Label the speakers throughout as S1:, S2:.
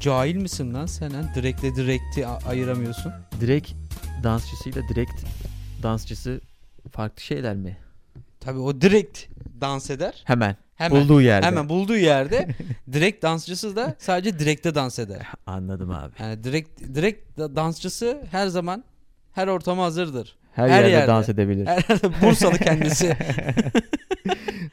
S1: Cahil misin lan sen? ha? Direkle direkti a- ayıramıyorsun.
S2: Direkt dansçısıyla direkt dansçısı farklı şeyler mi?
S1: Tabii o direkt dans eder.
S2: Hemen.
S1: Hemen.
S2: Bulduğu yerde.
S1: Hemen bulduğu yerde direkt dansçısı da sadece direkte dans eder.
S2: Anladım abi.
S1: Yani direkt direkt da- dansçısı her zaman her ortama hazırdır.
S2: Her,
S1: Her
S2: yerde,
S1: yerde.
S2: dans edebilir.
S1: Herhalde Bursalı kendisi.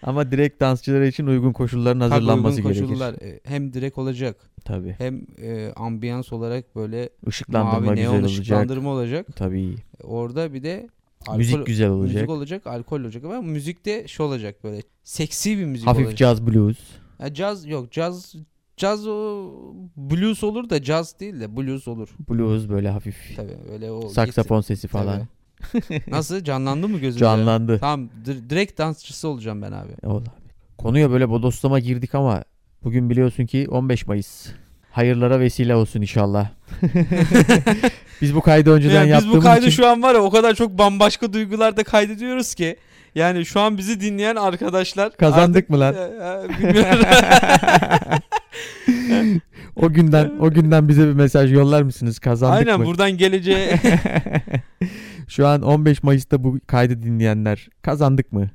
S2: Ama direkt dansçılar için uygun koşulların
S1: Tabii
S2: hazırlanması
S1: uygun
S2: gerekir.
S1: koşullar e, hem direkt olacak
S2: Tabii.
S1: hem e, ambiyans olarak böyle
S2: Işıklandırma
S1: mavi
S2: güzel
S1: neon
S2: olacak.
S1: ışıklandırma olacak.
S2: Tabii.
S1: Orada bir de alkol,
S2: müzik güzel olacak.
S1: müzik olacak, alkol olacak ama müzikte şu olacak böyle seksi bir müzik
S2: Hafif
S1: olacak.
S2: caz blues.
S1: Ya caz yok caz caz o blues olur da caz değil de blues olur.
S2: Blues böyle hafif.
S1: Tabii öyle o
S2: Saksafon sesi
S1: Tabii.
S2: falan.
S1: Nasıl canlandı mı gözünde?
S2: Canlandı.
S1: Tamam dir- direkt dansçısı olacağım ben abi.
S2: Ol abi. Konuya böyle bodoslama girdik ama bugün biliyorsun ki 15 Mayıs. Hayırlara vesile olsun inşallah. Biz bu kaydı önceden
S1: Yani biz bu
S2: yaptığımız
S1: kaydı
S2: için
S1: şu an var ya o kadar çok bambaşka duygularda kaydediyoruz ki. Yani şu an bizi dinleyen arkadaşlar
S2: kazandık mı lan?
S1: artık- Ya, ya, bilmiyorum.
S2: O günden o günden bize bir mesaj yollar mısınız? Kazandık
S1: Aynen
S2: mı?
S1: buradan geleceğe
S2: Şu an 15 Mayıs'ta bu kaydı dinleyenler kazandık mı?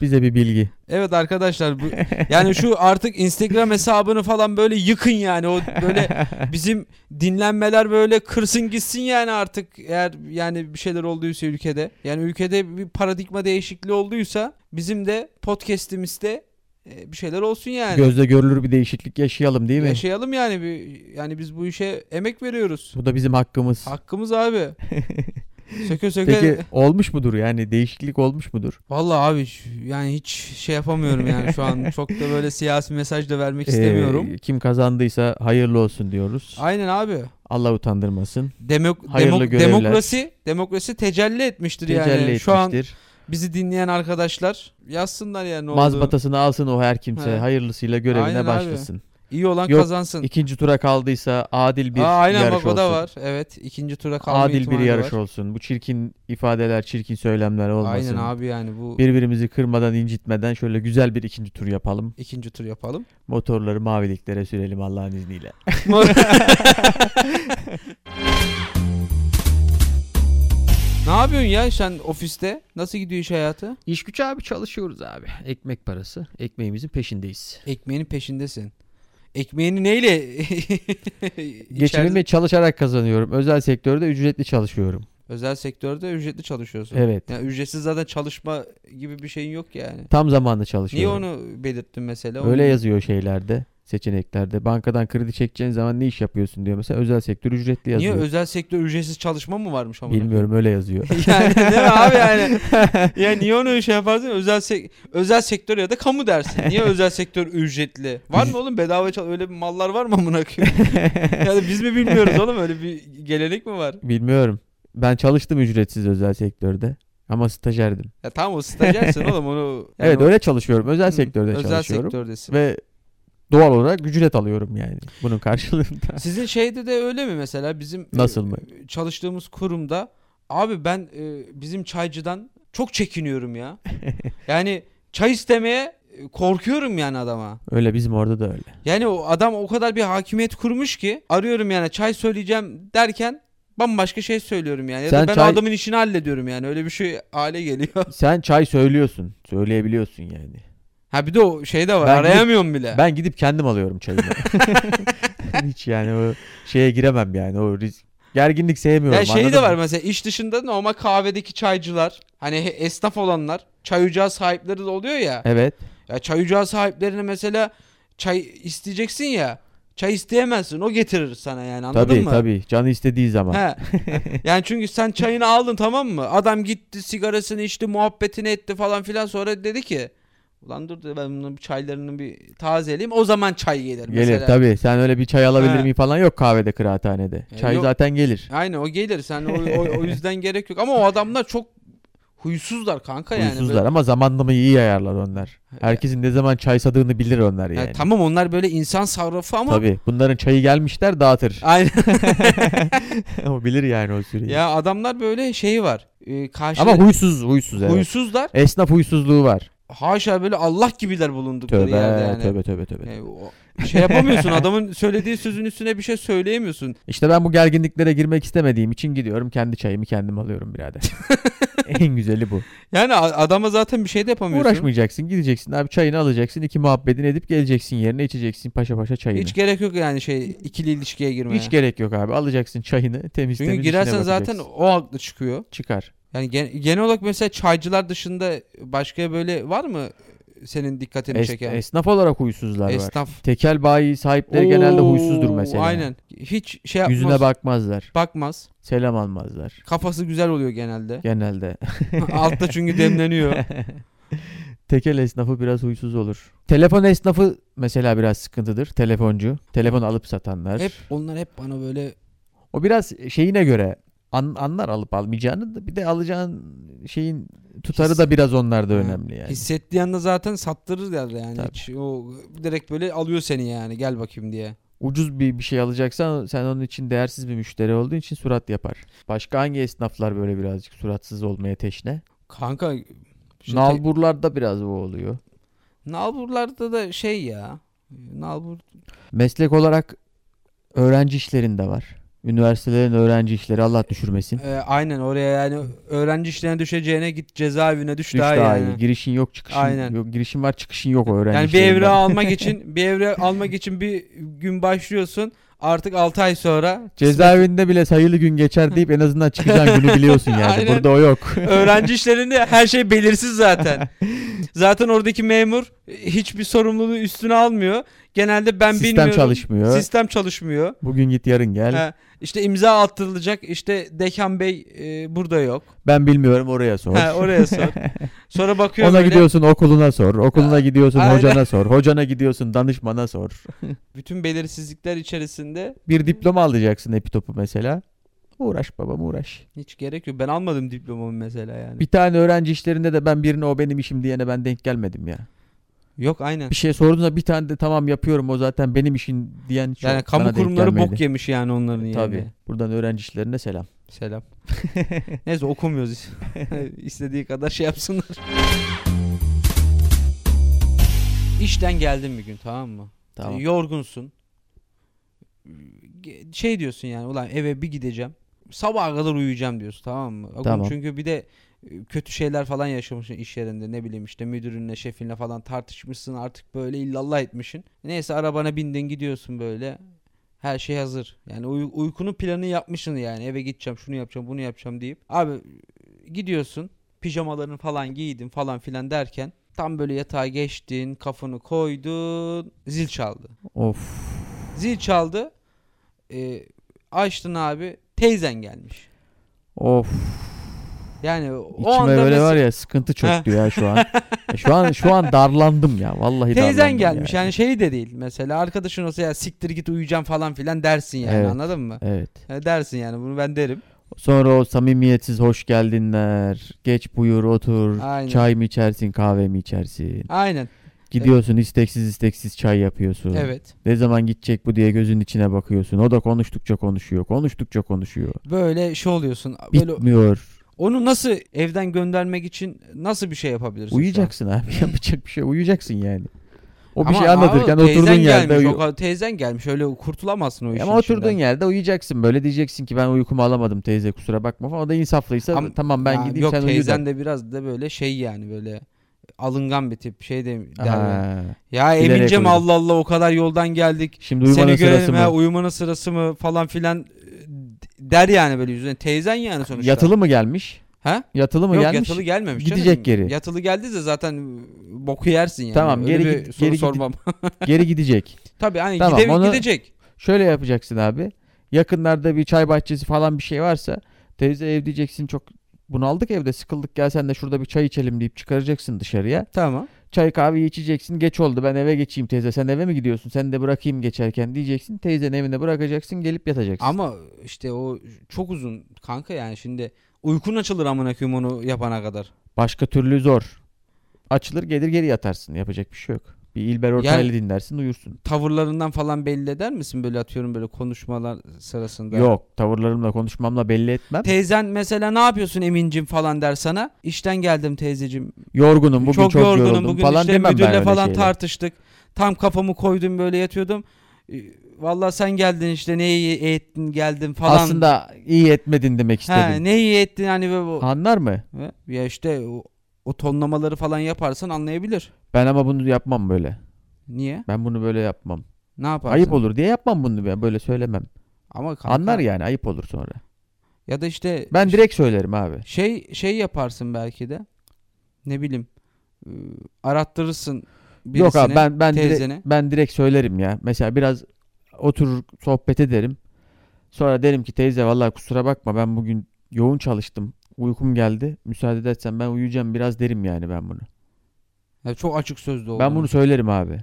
S2: Bize bir bilgi.
S1: Evet arkadaşlar bu yani şu artık Instagram hesabını falan böyle yıkın yani o böyle bizim dinlenmeler böyle kırsın gitsin yani artık eğer yani bir şeyler olduysa ülkede yani ülkede bir paradigma değişikliği olduysa bizim de podcast'imizde e, bir şeyler olsun yani.
S2: Gözle görülür bir değişiklik yaşayalım değil mi?
S1: Yaşayalım yani bir yani biz bu işe emek veriyoruz.
S2: bu da bizim hakkımız.
S1: Hakkımız abi. söke söke.
S2: Peki olmuş mudur yani değişiklik olmuş mudur?
S1: Vallahi abi şu- yani hiç şey yapamıyorum yani şu an çok da böyle siyasi mesaj da vermek
S2: Ee,
S1: istemiyorum.
S2: kim kazandıysa hayırlı olsun diyoruz.
S1: Aynen abi.
S2: Allah utandırmasın.
S1: Demok-
S2: Hayırlı
S1: demok-
S2: görevler.
S1: demokrasi demokrasi tecelli etmiştir yani.
S2: Tecelli
S1: Şu an
S2: etmiştir.
S1: bizi dinleyen arkadaşlar yazsınlar yani ne oldu.
S2: Mazbatasını alsın o her kimse.
S1: He.
S2: Hayırlısıyla görevine
S1: Aynen abi.
S2: başlasın.
S1: İyi olan
S2: Yok,
S1: kazansın.
S2: İkinci tura kaldıysa adil bir
S1: Aa, aynen
S2: yarış
S1: bak o da
S2: olsun.
S1: var. Evet ikinci tura kalma
S2: Adil bir
S1: ihtimali
S2: yarış
S1: var.
S2: olsun. Bu çirkin ifadeler, çirkin söylemler olmasın.
S1: Aynen abi yani bu
S2: Birbirimizi kırmadan, incitmeden şöyle güzel bir ikinci tur yapalım.
S1: ikinci tur yapalım.
S2: Motorları maviliklere sürelim Allah'ın izniyle.
S1: ne yapıyorsun ya sen ofiste? Nasıl gidiyor iş hayatı?
S2: İş güç abi çalışıyoruz abi. Ekmek parası. Ekmeğimizin peşindeyiz.
S1: Ekmeğinin peşindesin. Ekmeğini neyle? İçeride-
S2: Geçimimi çalışarak kazanıyorum. Özel sektörde ücretli çalışıyorum.
S1: Özel sektörde ücretli çalışıyorsun.
S2: Evet.
S1: Yani ücretsiz zaten çalışma gibi bir şeyin yok yani.
S2: Tam zamanlı
S1: Niye
S2: çalışıyorum.
S1: onu belirttin mesela?
S2: Öyle
S1: Onu-
S2: yazıyor şeylerde, seçeneklerde. Bankadan kredi çekeceğin zaman ne iş yapıyorsun diyor. Mesela özel sektör ücretli
S1: Niye
S2: yazıyor.
S1: özel sektör ücretsiz çalışma mı varmış ama?
S2: Bilmiyorum öyle yazıyor.
S1: yani değil mi abi yani? Ya niye onu şey yaparsın? Özel sek- özel sektör ya da kamu dersin. Niye özel sektör ücretli? Var mı oğlum bedava çal öyle bir mallar var mı amına koyayım? yani biz mi bilmiyoruz oğlum öyle bir gelenek mi var?
S2: Bilmiyorum. Ben çalıştım ücretsiz özel sektörde. Ama stajyerdim.
S1: Ya tamam o stajyersin oğlum onu. yani
S2: Evet
S1: o-
S2: öyle çalışıyorum. Özel
S1: Hı,
S2: sektörde
S1: özel
S2: çalışıyorum.
S1: sektördesin.
S2: Ve doğal olarak ücret alıyorum yani. Bunun karşılığında.
S1: Sizin şeyde de öyle mi mesela bizim e,
S2: Nasıl mı?
S1: çalıştığımız kurumda abi ben e, bizim çaycıdan çok çekiniyorum ya. yani çay istemeye e, korkuyorum yani adama.
S2: Öyle bizim orada da öyle.
S1: Yani o adam o kadar bir hakimiyet kurmuş ki arıyorum yani çay söyleyeceğim derken bambaşka şey söylüyorum yani. Ya da
S2: Sen
S1: ben
S2: çay-
S1: adamın işini hallediyorum yani öyle bir şey hale geliyor.
S2: Sen çay söylüyorsun. Söyleyebiliyorsun yani.
S1: ha bir de o şey de var
S2: Ben gidip-
S1: arayamıyorum bile.
S2: E, Ben gidip kendim alıyorum çayımı. Hiç yani o şeye giremem yani. O risk- gerginlik sevmiyorum.
S1: Ya şey
S2: anladın
S1: de
S2: mı?
S1: var mesela iş dışında normal kahvedeki çaycılar hani he- esnaf olanlar çay ocağı sahipleri de oluyor ya.
S2: Evet.
S1: Ya çay ocağı sahiplerine mesela çay isteyeceksin ya. Çay isteyemezsin o getirir sana yani anladın
S2: tabii
S1: mı?
S2: tabii. Canı istediği zaman.
S1: He. yani çünkü sen çayını aldın tamam mı? Adam gitti sigarasını içti muhabbetini etti falan filan sonra dedi ki Ulan dur dedi, ben bunun bir çaylarını bir tazeleyeyim o zaman çay gelir
S2: Gelir
S1: mesela.
S2: tabii. Sen öyle bir çay alabilir
S1: He.
S2: miyim falan yok kahvede kıraathanede.
S1: E,
S2: Çay
S1: yok.
S2: zaten gelir.
S1: Aynen o gelir. Sen o, o, o yüzden gerek yok. Ama o adamlar çok huysuzlar kanka yani.
S2: Huysuzlar ama zamanlamayı iyi ayarlar onlar. Herkesin ne zaman çay sadığını bilir onlar
S1: Böyle-
S2: yani.
S1: Yani tamam onlar böyle insan sarrafı ama.
S2: Tabii. Bunların çayı gelmişler dağıtır.
S1: Aynen.
S2: o bilir yani o süreyi.
S1: ya adamlar böyle şeyi var. Ee, karşı
S2: ama huysuz huysuz evet.
S1: huysuzlar.
S2: Esnaf huysuzluğu var.
S1: haşa böyle Allah gibiler bulundukları
S2: Tövbe,
S1: yerde yani.
S2: tövbe tövbe tövbe.
S1: Yani o- şey yapamıyorsun adamın söylediği sözün üstüne bir şey söyleyemiyorsun.
S2: İşte ben bu gerginliklere girmek istemediğim için gidiyorum kendi çayımı kendim alıyorum birader. en güzeli bu.
S1: Yani a- adama zaten bir şey de yapamıyorsun.
S2: Uğraşmayacaksın gideceksin abi çayını alacaksın iki muhabbetini edip geleceksin yerine içeceksin paşa paşa çayını.
S1: Hiç gerek yok yani şey ikili ilişkiye girmeye.
S2: Hiç gerek yok abi alacaksın çayını temiz
S1: Çünkü
S2: temiz
S1: girersen
S2: işine
S1: zaten
S2: bakacaksın.
S1: o haklı çıkıyor.
S2: çıkar.
S1: Yani gen- genel olarak mesela çaycılar dışında başka böyle var mı senin dikkatini
S2: Es-
S1: çeken?
S2: esnaf olarak huysuzlar var.
S1: Esnaf.
S2: Tekel bayi sahipleri genelde
S1: Oo,
S2: huysuzdur mesela.
S1: Aynen. Hiç şey yapmaz.
S2: Yüzüne bakmazlar.
S1: bakmaz.
S2: Selam almazlar.
S1: Kafası güzel oluyor genelde.
S2: Genelde.
S1: Altta çünkü demleniyor.
S2: Tekel esnafı biraz huysuz olur. Telefon esnafı mesela biraz sıkıntıdır. Telefoncu. Telefon alıp satanlar.
S1: hep onlar hep bana böyle
S2: O biraz şeyine göre an- anlar alıp almayacağını da bir de alacağın şeyin tutarı
S1: His-
S2: da biraz onlarda
S1: Ha,
S2: önemli yani.
S1: hissettiği anda zaten sattırır derler yani.
S2: Tabii.
S1: Hiç o direkt böyle alıyor seni yani gel bakayım diye.
S2: Ucuz bir bir şey alacaksan sen onun için değersiz bir müşteri olduğun için surat yapar. Başka hangi esnaflar böyle birazcık suratsız olmaya teşne?
S1: Kanka şey, işte te-
S2: Nalburlarda biraz o oluyor.
S1: Nalburlarda da şey ya. Nalbur
S2: Meslek olarak öğrenci işlerinde var. Üniversitelerin öğrenci işleri Allah düşürmesin.
S1: e, aynen oraya yani öğrenci işlerine düşeceğine git cezaevine düş,
S2: Üç
S1: daha,
S2: daha,
S1: yani.
S2: iyi. Girişin yok çıkışın
S1: Aynen.
S2: yok. Girişin var çıkışın yok o öğrenci
S1: Yani bir
S2: işlerinde.
S1: evre almak için bir evre almak için bir gün başlıyorsun. Artık 6 ay sonra
S2: Cezaevinde bile sayılı gün geçer deyip en azından çıkacağın günü biliyorsun yani.
S1: Aynen.
S2: Burada o yok.
S1: öğrenci işlerinde her şey belirsiz zaten. zaten oradaki memur hiçbir sorumluluğu üstüne almıyor. Genelde ben
S2: Sistem
S1: bilmiyorum.
S2: çalışmıyor.
S1: Sistem çalışmıyor.
S2: Bugün git yarın gel.
S1: Ha, işte imza attırılacak. İşte Dekan Bey e, burada yok.
S2: Ben bilmiyorum oraya sor.
S1: Ha, oraya sor. Sonra bakıyor
S2: Ona
S1: böyle.
S2: gidiyorsun okuluna sor. Okuluna gidiyorsun
S1: aynen.
S2: hocana sor. Hocana gidiyorsun danışmana sor.
S1: Bütün belirsizlikler içerisinde
S2: Bir diploma alacaksın epitopu mesela. Uğraş babam uğraş.
S1: hiç gerek yok. Ben almadım diplomamı mesela yani.
S2: Bir tane öğrenci işlerinde de ben birine o benim işim diyene ben denk gelmedim ya.
S1: Yok aynen.
S2: Bir şey sorduğunda bir tane de tamam yapıyorum o zaten benim işim diyen çok
S1: Yani kamu
S2: bana denk
S1: kurumları bok
S2: gelmedi. E,
S1: yemiş yani onların yani.
S2: Tabii. Buradan öğrenci işlerine selam.
S1: Selam. Neyse okumuyoruz. İstediği kadar şey yapsınlar. İşten geldin bir gün tamam mı?
S2: Tamam.
S1: Yorgunsun. Ge- Şey diyorsun yani ulan eve bir gideceğim. Sabaha kadar uyuyacağım diyorsun tamam mı? Oğlum
S2: Tamam.
S1: Çünkü bir de e, kötü şeyler falan yaşamışsın iş yerinde ne bileyim işte müdürünle şefinle falan tartışmışsın artık böyle illallah etmişsin. Neyse arabana bindin gidiyorsun böyle her şey hazır. Yani uy- uykunun planını yapmışsın yani eve gideceğim şunu yapacağım bunu yapacağım deyip. Abi e, gidiyorsun pijamalarını falan giydin falan filan derken tam böyle yatağa geçtin kafanı koydun zil çaldı.
S2: Of.
S1: Zil çaldı e, açtın abi teyzen gelmiş.
S2: Of.
S1: Yani o
S2: İçime
S1: anda
S2: böyle
S1: mesela-
S2: var ya sıkıntı çöktü ya şu an. Ya şu an şu an darlandım ya. Vallahi
S1: Teyzen
S2: darlandım
S1: gelmiş yani. şey de değil mesela arkadaşın olsa ya siktir git uyuyacağım falan filan dersin yani
S2: Evet.
S1: anladın mı?
S2: Evet.
S1: Ya dersin yani bunu ben derim.
S2: Sonra o samimiyetsiz hoş geldinler. Geç buyur otur.
S1: Aynen.
S2: Çay mı içersin kahve mi içersin?
S1: Aynen
S2: Gidiyorsun isteksiz isteksiz çay yapıyorsun.
S1: evet.
S2: Ne zaman gidecek bu diye gözün içine bakıyorsun. O da konuştukça konuşuyor. Konuştukça konuşuyor.
S1: Böyle şey oluyorsun. Böyle
S2: Bitmiyor.
S1: onu nasıl evden göndermek için nasıl bir şey yapabilirsin? şu an?
S2: Uyuyacaksın abi. Yapacak bir şey. Uyuyacaksın yani. O bir
S1: Ama
S2: şey
S1: abi,
S2: anlatırken
S1: teyzen
S2: oturduğun yerde
S1: gelmiş,
S2: uyu- E
S1: o kadar teyzen gelmiş. Öyle kurtulamazsın o işin
S2: Ama oturduğun
S1: içinden.
S2: yerde uyuyacaksın. Böyle diyeceksin ki ben uykumu alamadım teyze kusura bakma falan. O da insaflıysa
S1: Ama-
S2: tamam ben
S1: Ha,
S2: gideyim
S1: Yok
S2: sen uyu
S1: teyzen
S2: da.
S1: de biraz da böyle şey yani böyle alıngan bir tip şey de der böyle.
S2: Ha,
S1: Ya
S2: bilerek
S1: Emince mi
S2: uyudum.
S1: Allah Allah o kadar yoldan geldik.
S2: Şimdi uyumanın
S1: Seni görelim
S2: sırası mı?
S1: ha, uyumanın sırası mı falan filan e, der yani böyle yüzüne. Teyzen yani sonuçta.
S2: Yatılı mı gelmiş?
S1: Ha?
S2: Yatılı mı
S1: Yok
S2: gelmiş?
S1: yatılı gelmemiş.
S2: Gidecek
S1: canım.
S2: geri.
S1: Yatılı geldiyse zaten e, boku yersin yani.
S2: Tamam,
S1: Öyle
S2: geri
S1: bir
S2: git-
S1: soru
S2: geri gidi-
S1: sormam.
S2: Geri gidecek.
S1: Tabii hani
S2: Tamam,
S1: gide-
S2: onu-
S1: gidecek.
S2: Şöyle yapacaksın abi. Yakınlarda bir çay bahçesi falan bir şey varsa teyze ev diyeceksin çok bunaldık evde sıkıldık gel sen de şurada bir çay içelim deyip çıkaracaksın dışarıya.
S1: Tamam.
S2: Çay kahveyi içeceksin geç oldu ben eve geçeyim teyze sen eve mi gidiyorsun sen de bırakayım geçerken diyeceksin. Teyzenin evine bırakacaksın gelip yatacaksın.
S1: Ama işte o çok uzun kanka yani şimdi uykun açılır amına koyayım onu yapana kadar.
S2: Başka türlü zor. Açılır gelir geri yatarsın. Yapacak bir şey yok. Bir İlber Ortaylı dinlersin duyursun.
S1: Tavırlarından falan belli eder misin böyle atıyorum böyle konuşmalar sırasında?
S2: Yok tavırlarımla konuşmamla belli etmem.
S1: Teyzen mesela ne yapıyorsun Emin'cim falan der sana. İşten geldim teyzecim.
S2: yorgunum bugün çok,
S1: yorgunum
S2: yoruldum
S1: bugün
S2: falan
S1: işte
S2: demem ben
S1: müdürle
S2: öyle
S1: falan
S2: şeyler.
S1: tartıştık. Tam kafamı koydum böyle yatıyordum. Ee, Vallahi sen geldin işte ne iyi ettin geldin falan.
S2: Aslında iyi etmedin demek istedim.
S1: ha, ne iyi ettin hani böyle bu.
S2: Anlar mı?
S1: Ve- Ya işte o, o tonlamaları falan yaparsan anlayabilir.
S2: Ben ama bunu yapmam böyle.
S1: Niye?
S2: Ben bunu böyle yapmam.
S1: Ne yaparsın?
S2: Ayıp olur diye yapmam bunu ben böyle söylemem.
S1: Ama kanka,
S2: Anlar yani ayıp olur sonra.
S1: Ya da işte
S2: Ben direkt söylerim abi.
S1: şey şey yaparsın belki de. Ne bileyim. e, Arattırırsın birisini.
S2: Yok abi ben ben direkt-
S1: teyzene.
S2: ben direkt söylerim ya. Mesela biraz oturur sohbet ederim. Sonra derim ki teyze vallahi kusura bakma ben bugün yoğun çalıştım. Uykum geldi. Müsaade edersen ben uyuyacağım biraz derim yani ben bunu.
S1: Ya çok açık sözlü olduğunu.
S2: Ben bunu söylerim abi.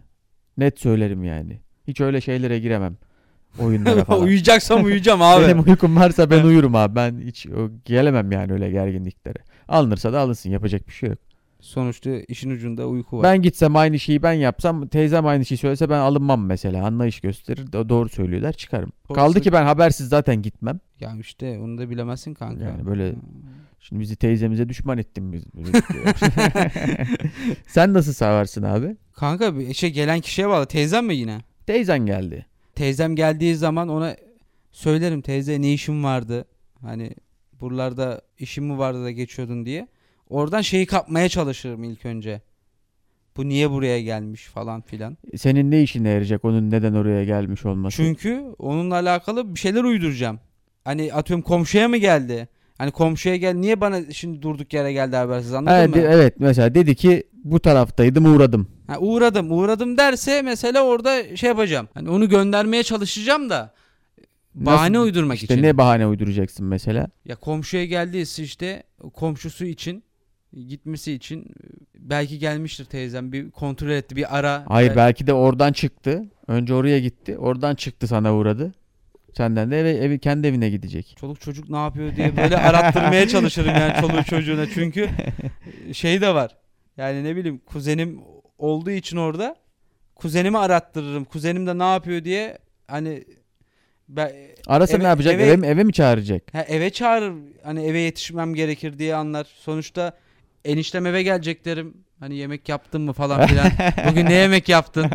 S2: Net söylerim yani. Hiç öyle şeylere giremem. Oyunlara falan.
S1: Uyuyacaksam uyuyacağım abi.
S2: Benim uykum varsa ben uyurum abi. Ben hiç o, gelemem yani öyle gerginliklere. Alınırsa da alınsın. Yapacak bir şey yok.
S1: Sonuçta işin ucunda uyku var.
S2: Ben gitsem aynı şeyi ben yapsam teyzem aynı şeyi söylese ben alınmam mesela. Anlayış gösterir. do- Doğru söylüyorlar çıkarım.
S1: Doğru
S2: Kaldı ki
S1: söylüyor.
S2: ben habersiz zaten gitmem.
S1: Ya işte onu da bilemezsin kanka. Hmm.
S2: Yani böyle- Şimdi bizi teyzemize düşman ettin biz. Sen nasıl savarsın abi?
S1: Kanka bir şey gelen kişiye bağlı. Teyzem mi yine?
S2: Teyzen geldi.
S1: Teyzem geldiği zaman ona söylerim teyze ne işin vardı? Hani buralarda işin mi vardı da geçiyordun diye. Oradan şeyi kapmaya çalışırım ilk önce. Bu niye buraya gelmiş falan filan.
S2: Senin ne işine yarayacak onun neden oraya gelmiş olması?
S1: Çünkü onunla alakalı bir şeyler uyduracağım. Hani atıyorum komşuya mı geldi? Hani komşuya gel niye bana şimdi durduk yere geldi habersiz anladın
S2: Ha,
S1: mı?
S2: de- evet mesela dedi ki bu taraftaydım uğradım.
S1: Ha, uğradım uğradım derse mesela orada şey yapacağım. Hani onu göndermeye çalışacağım da bahane
S2: Nasıl-
S1: uydurmak
S2: İşte
S1: için.
S2: ne bahane uyduracaksın mesela?
S1: Ya komşuya geldiyse işte komşusu için gitmesi için belki gelmiştir teyzem bir kontrol etti bir ara.
S2: Hayır
S1: Bel-
S2: belki de oradan çıktı. Önce oraya gitti. Oradan çıktı sana uğradı. Senden de eve, evi kendi evine gidecek.
S1: Çoluk çocuk ne yapıyor diye böyle arattırmaya çalışırım yani çoluğu çocuğuna çünkü şey de var. Yani ne bileyim kuzenim olduğu için orada kuzenimi arattırırım. Kuzenim de ne yapıyor diye hani ben,
S2: Arasa
S1: Eve-
S2: ne yapacak?
S1: eve-
S2: Eve, mi- eve mi çağıracak?
S1: Ha, eve çağırır. Hani eve yetişmem gerekir diye anlar. Sonuçta eniştem eve gelecek derim. Hani yemek yaptın mı falan filan. Bugün ne yemek yaptın?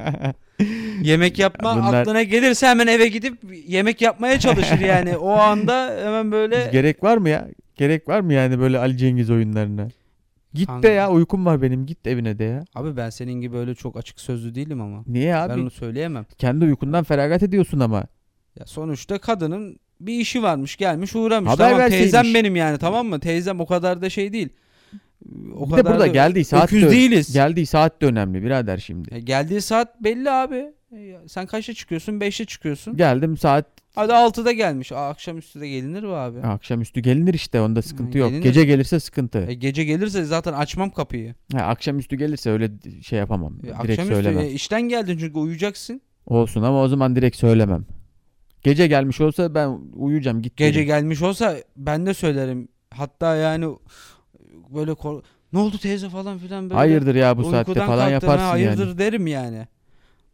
S1: Yemek yapma
S2: Bunlar-
S1: aklına gelirse hemen eve gidip yemek yapmaya çalışır yani. O anda hemen böyle
S2: Gerek var mı ya? Gerek var mı yani böyle Ali Cengiz oyunlarına? Git
S1: Kanka.
S2: de ya uykum var benim. Git evine de ya.
S1: Abi ben senin gibi öyle çok açık sözlü değilim ama.
S2: Niye abi?
S1: Ben onu söyleyemem.
S2: Kendi uykundan feragat ediyorsun ama.
S1: Ya sonuçta kadının bir işi varmış, gelmiş, uğramış.
S2: Haber
S1: tamam
S2: verseymiş.
S1: teyzem benim yani tamam mı? Teyzem o kadar da şey değil. O
S2: bir de burada
S1: da
S2: geldiği saat
S1: öküz
S2: de,
S1: değiliz.
S2: geldiği saat de önemli birader şimdi.
S1: Ya E, geldiği saat belli abi. Ya Sen kaçta çıkıyorsun? 5'te çıkıyorsun.
S2: Geldim saat
S1: Hadi 6'da gelmiş. Aa, akşamüstü de gelinir mi abi?
S2: akşamüstü gelinir işte onda sıkıntı yok.
S1: gelinir.
S2: Gece gelirse sıkıntı.
S1: E, gece gelirse zaten açmam kapıyı.
S2: Ha, akşamüstü gelirse öyle d- şey yapamam.
S1: E,
S2: direkt
S1: akşamüstü
S2: söylemem.
S1: e, işten geldin çünkü uyuyacaksın.
S2: Olsun ama o zaman direkt söylemem. Gece gelmiş olsa ben uyuyacağım git.
S1: Gece
S2: derim.
S1: gelmiş olsa ben de söylerim. Hatta yani böyle kor- ne oldu teyze falan filan böyle.
S2: Hayırdır ya bu saatte
S1: uykudan
S2: falan
S1: kalktın,
S2: yaparsın
S1: ha, hayırdır
S2: yani.
S1: derim yani.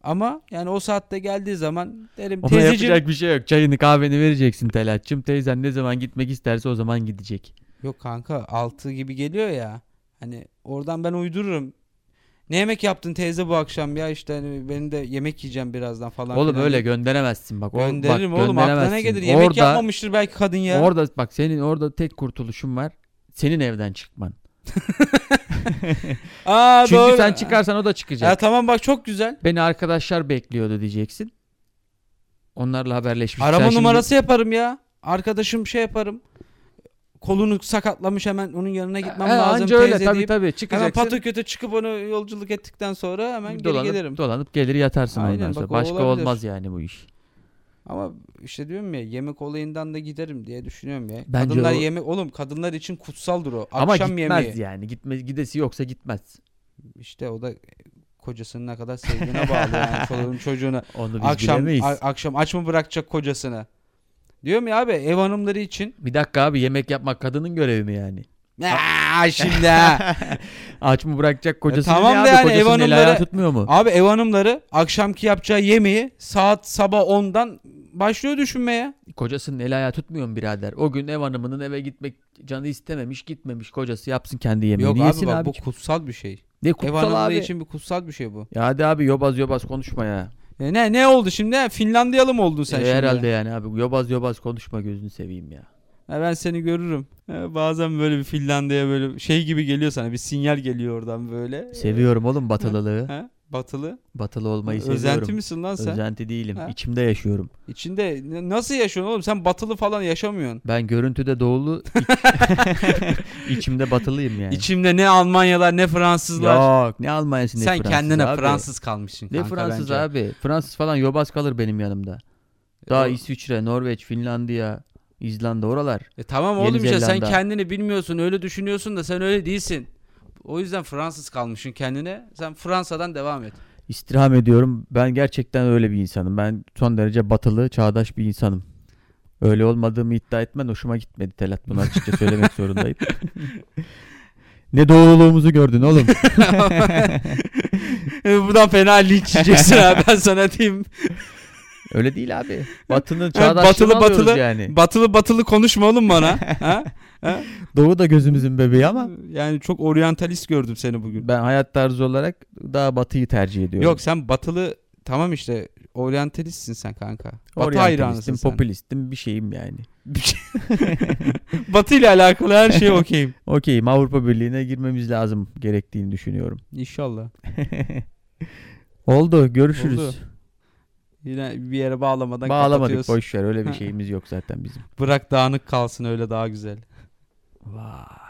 S1: Ama yani o saatte geldiği zaman derim
S2: Ona
S1: teyzeciğim.
S2: yapacak bir şey yok. Çayını kahveni vereceksin Telatçım. Teyzen ne zaman gitmek isterse o zaman gidecek.
S1: Yok kanka 6 gibi geliyor ya. Hani oradan ben uydururum. Ne yemek yaptın teyze bu akşam ya işte hani benim de yemek yiyeceğim birazdan falan.
S2: oğlum
S1: filan
S2: öyle
S1: diye.
S2: gönderemezsin bak. O- bak,
S1: Gönderirim oğlum aklına ne
S2: gönderemezsin.
S1: gelir yemek
S2: orada,
S1: yapmamıştır belki kadın ya.
S2: Orada bak senin orada tek kurtuluşun var. Senin evden çıkman.
S1: Aa,
S2: Çünkü
S1: doğru.
S2: sen çıkarsan o da çıkacak.
S1: Ya tamam bak çok güzel.
S2: Beni arkadaşlar bekliyordu diyeceksin. Onlarla haberleşmişler.
S1: Arama
S2: Şimdi-
S1: numarası yaparım ya. Arkadaşım şey yaparım. Kolunu sakatlamış hemen onun yanına gitmem
S2: He,
S1: lazım
S2: anca öyle
S1: teyze
S2: tabii
S1: deyip.
S2: tabii
S1: Hemen
S2: çıkacaksın.
S1: patır kötü çıkıp onu yolculuk ettikten sonra hemen geri
S2: dolanıp,
S1: gelirim.
S2: dolanıp gelir yatarsın
S1: Aynen,
S2: ondan sonra.
S1: bak o
S2: Başka
S1: olabilir.
S2: olmaz yani bu iş.
S1: Ama işte diyorum ya yemek olayından da giderim diye düşünüyorum ya.
S2: Bence
S1: kadınlar
S2: o-
S1: yemek oğlum kadınlar için kutsaldır o.
S2: Ama
S1: Akşam
S2: gitmez
S1: yemeği.
S2: yani. Gitme, gidesi yoksa gitmez.
S1: İşte o da kocasının ne kadar sevdiğine bağlı yani çoluğun çocuğuna.
S2: Onu biz
S1: akşam
S2: bilemeyiz.
S1: a- akşam aç mı bırakacak kocasını? Diyorum ya abi ev hanımları için
S2: bir dakika abi yemek yapmak kadının görevi mi yani?
S1: Aa, şimdi ha.
S2: Aç mı bırakacak kocasını?
S1: E, tamam
S2: ne
S1: da
S2: abi?
S1: yani ev
S2: Kocasının eli ayağı
S1: hanımları-
S2: tutmuyor mu?
S1: Abi ev hanımları akşamki yapacağı yemeği saat sabah 10'dan başlıyor düşünmeye.
S2: Kocasının el ayağı tutmuyor mu birader? O gün ev hanımının eve gitmek canı istememiş gitmemiş kocası yapsın kendi yemeğini
S1: Yok abi
S2: yesin
S1: bak
S2: abi.
S1: bu kutsal bir şey.
S2: Ne
S1: ev
S2: kutsal
S1: hanımları
S2: abi.
S1: için bir kutsal bir şey bu.
S2: Ya hadi abi yobaz yobaz konuşma ya.
S1: E ne ne oldu şimdi? Ha, Finlandiyalı mı oldun sen
S2: E,
S1: şimdi?
S2: herhalde yani abi yobaz yobaz konuşma gözünü seveyim ya.
S1: Ha, ben seni görürüm. Ha, bazen böyle bir Finlandiya böyle şey gibi geliyor sana. Bir sinyal geliyor oradan böyle.
S2: Seviyorum oğlum batılılığı.
S1: Ha, batılı.
S2: Batılı olmayı
S1: Özenti
S2: seviyorum.
S1: misin lan sen?
S2: Özenti değilim.
S1: Ha?
S2: İçimde yaşıyorum.
S1: İçinde n- nasıl yaşıyorsun oğlum? Sen batılı falan yaşamıyorsun.
S2: Ben görüntüde doğulu iç- içimde batılıyım yani.
S1: İçimde ne Almanyalar ne Fransızlar.
S2: Yok ne Almanya'sı ne
S1: sen
S2: Fransız
S1: kendine
S2: abi.
S1: Fransız kalmışsın
S2: Ne
S1: kanka
S2: Fransız
S1: bence.
S2: abi? Fransız falan yobaz kalır benim yanımda. Daha
S1: E,
S2: İsviçre, Norveç, Finlandiya, İzlanda oralar.
S1: E tamam
S2: Yeni
S1: oğlum işte sen
S2: Zelanda.
S1: kendini bilmiyorsun öyle düşünüyorsun da sen öyle değilsin. O yüzden Fransız kalmışsın kendine. Sen Fransa'dan devam et.
S2: İstirham ediyorum. Ben gerçekten öyle bir insanım. Ben son derece batılı, çağdaş bir insanım. Öyle olmadığımı iddia etmen hoşuma gitmedi Telat. Bunu açıkça söylemek zorundayım. ne doğruluğumuzu gördün oğlum.
S1: E, Buradan fena linç yiyeceksin abi ben sana diyeyim.
S2: Öyle değil abi. Batının
S1: batılı,
S2: çağdaşlığını alıyoruz
S1: batılı.
S2: yani.
S1: Batılı batılı konuşma oğlum bana. ha? Ha?
S2: Doğu da gözümüzün bebeği ama
S1: Yani çok oryantalist gördüm seni bugün.
S2: ben hayat tarzı olarak daha batıyı tercih ediyorum.
S1: Yok sen batılı tamam işte oryantalistsin sen kanka. Batı hayranısın
S2: Oryantalistim,
S1: sen.
S2: popülistim bir şeyim yani.
S1: Batı ile alakalı her şeye okeyim.
S2: Okeyim Avrupa Birliği'ne girmemiz lazım gerektiğini düşünüyorum.
S1: İnşallah.
S2: Oldu görüşürüz.
S1: Oldu. Yine bir yere bağlamadan
S2: Bağlamadık
S1: kapatıyorsun.
S2: boş ver öyle bir
S1: Ha.
S2: şeyimiz yok zaten bizim.
S1: Bırak dağınık kalsın öyle daha güzel.
S2: Vay.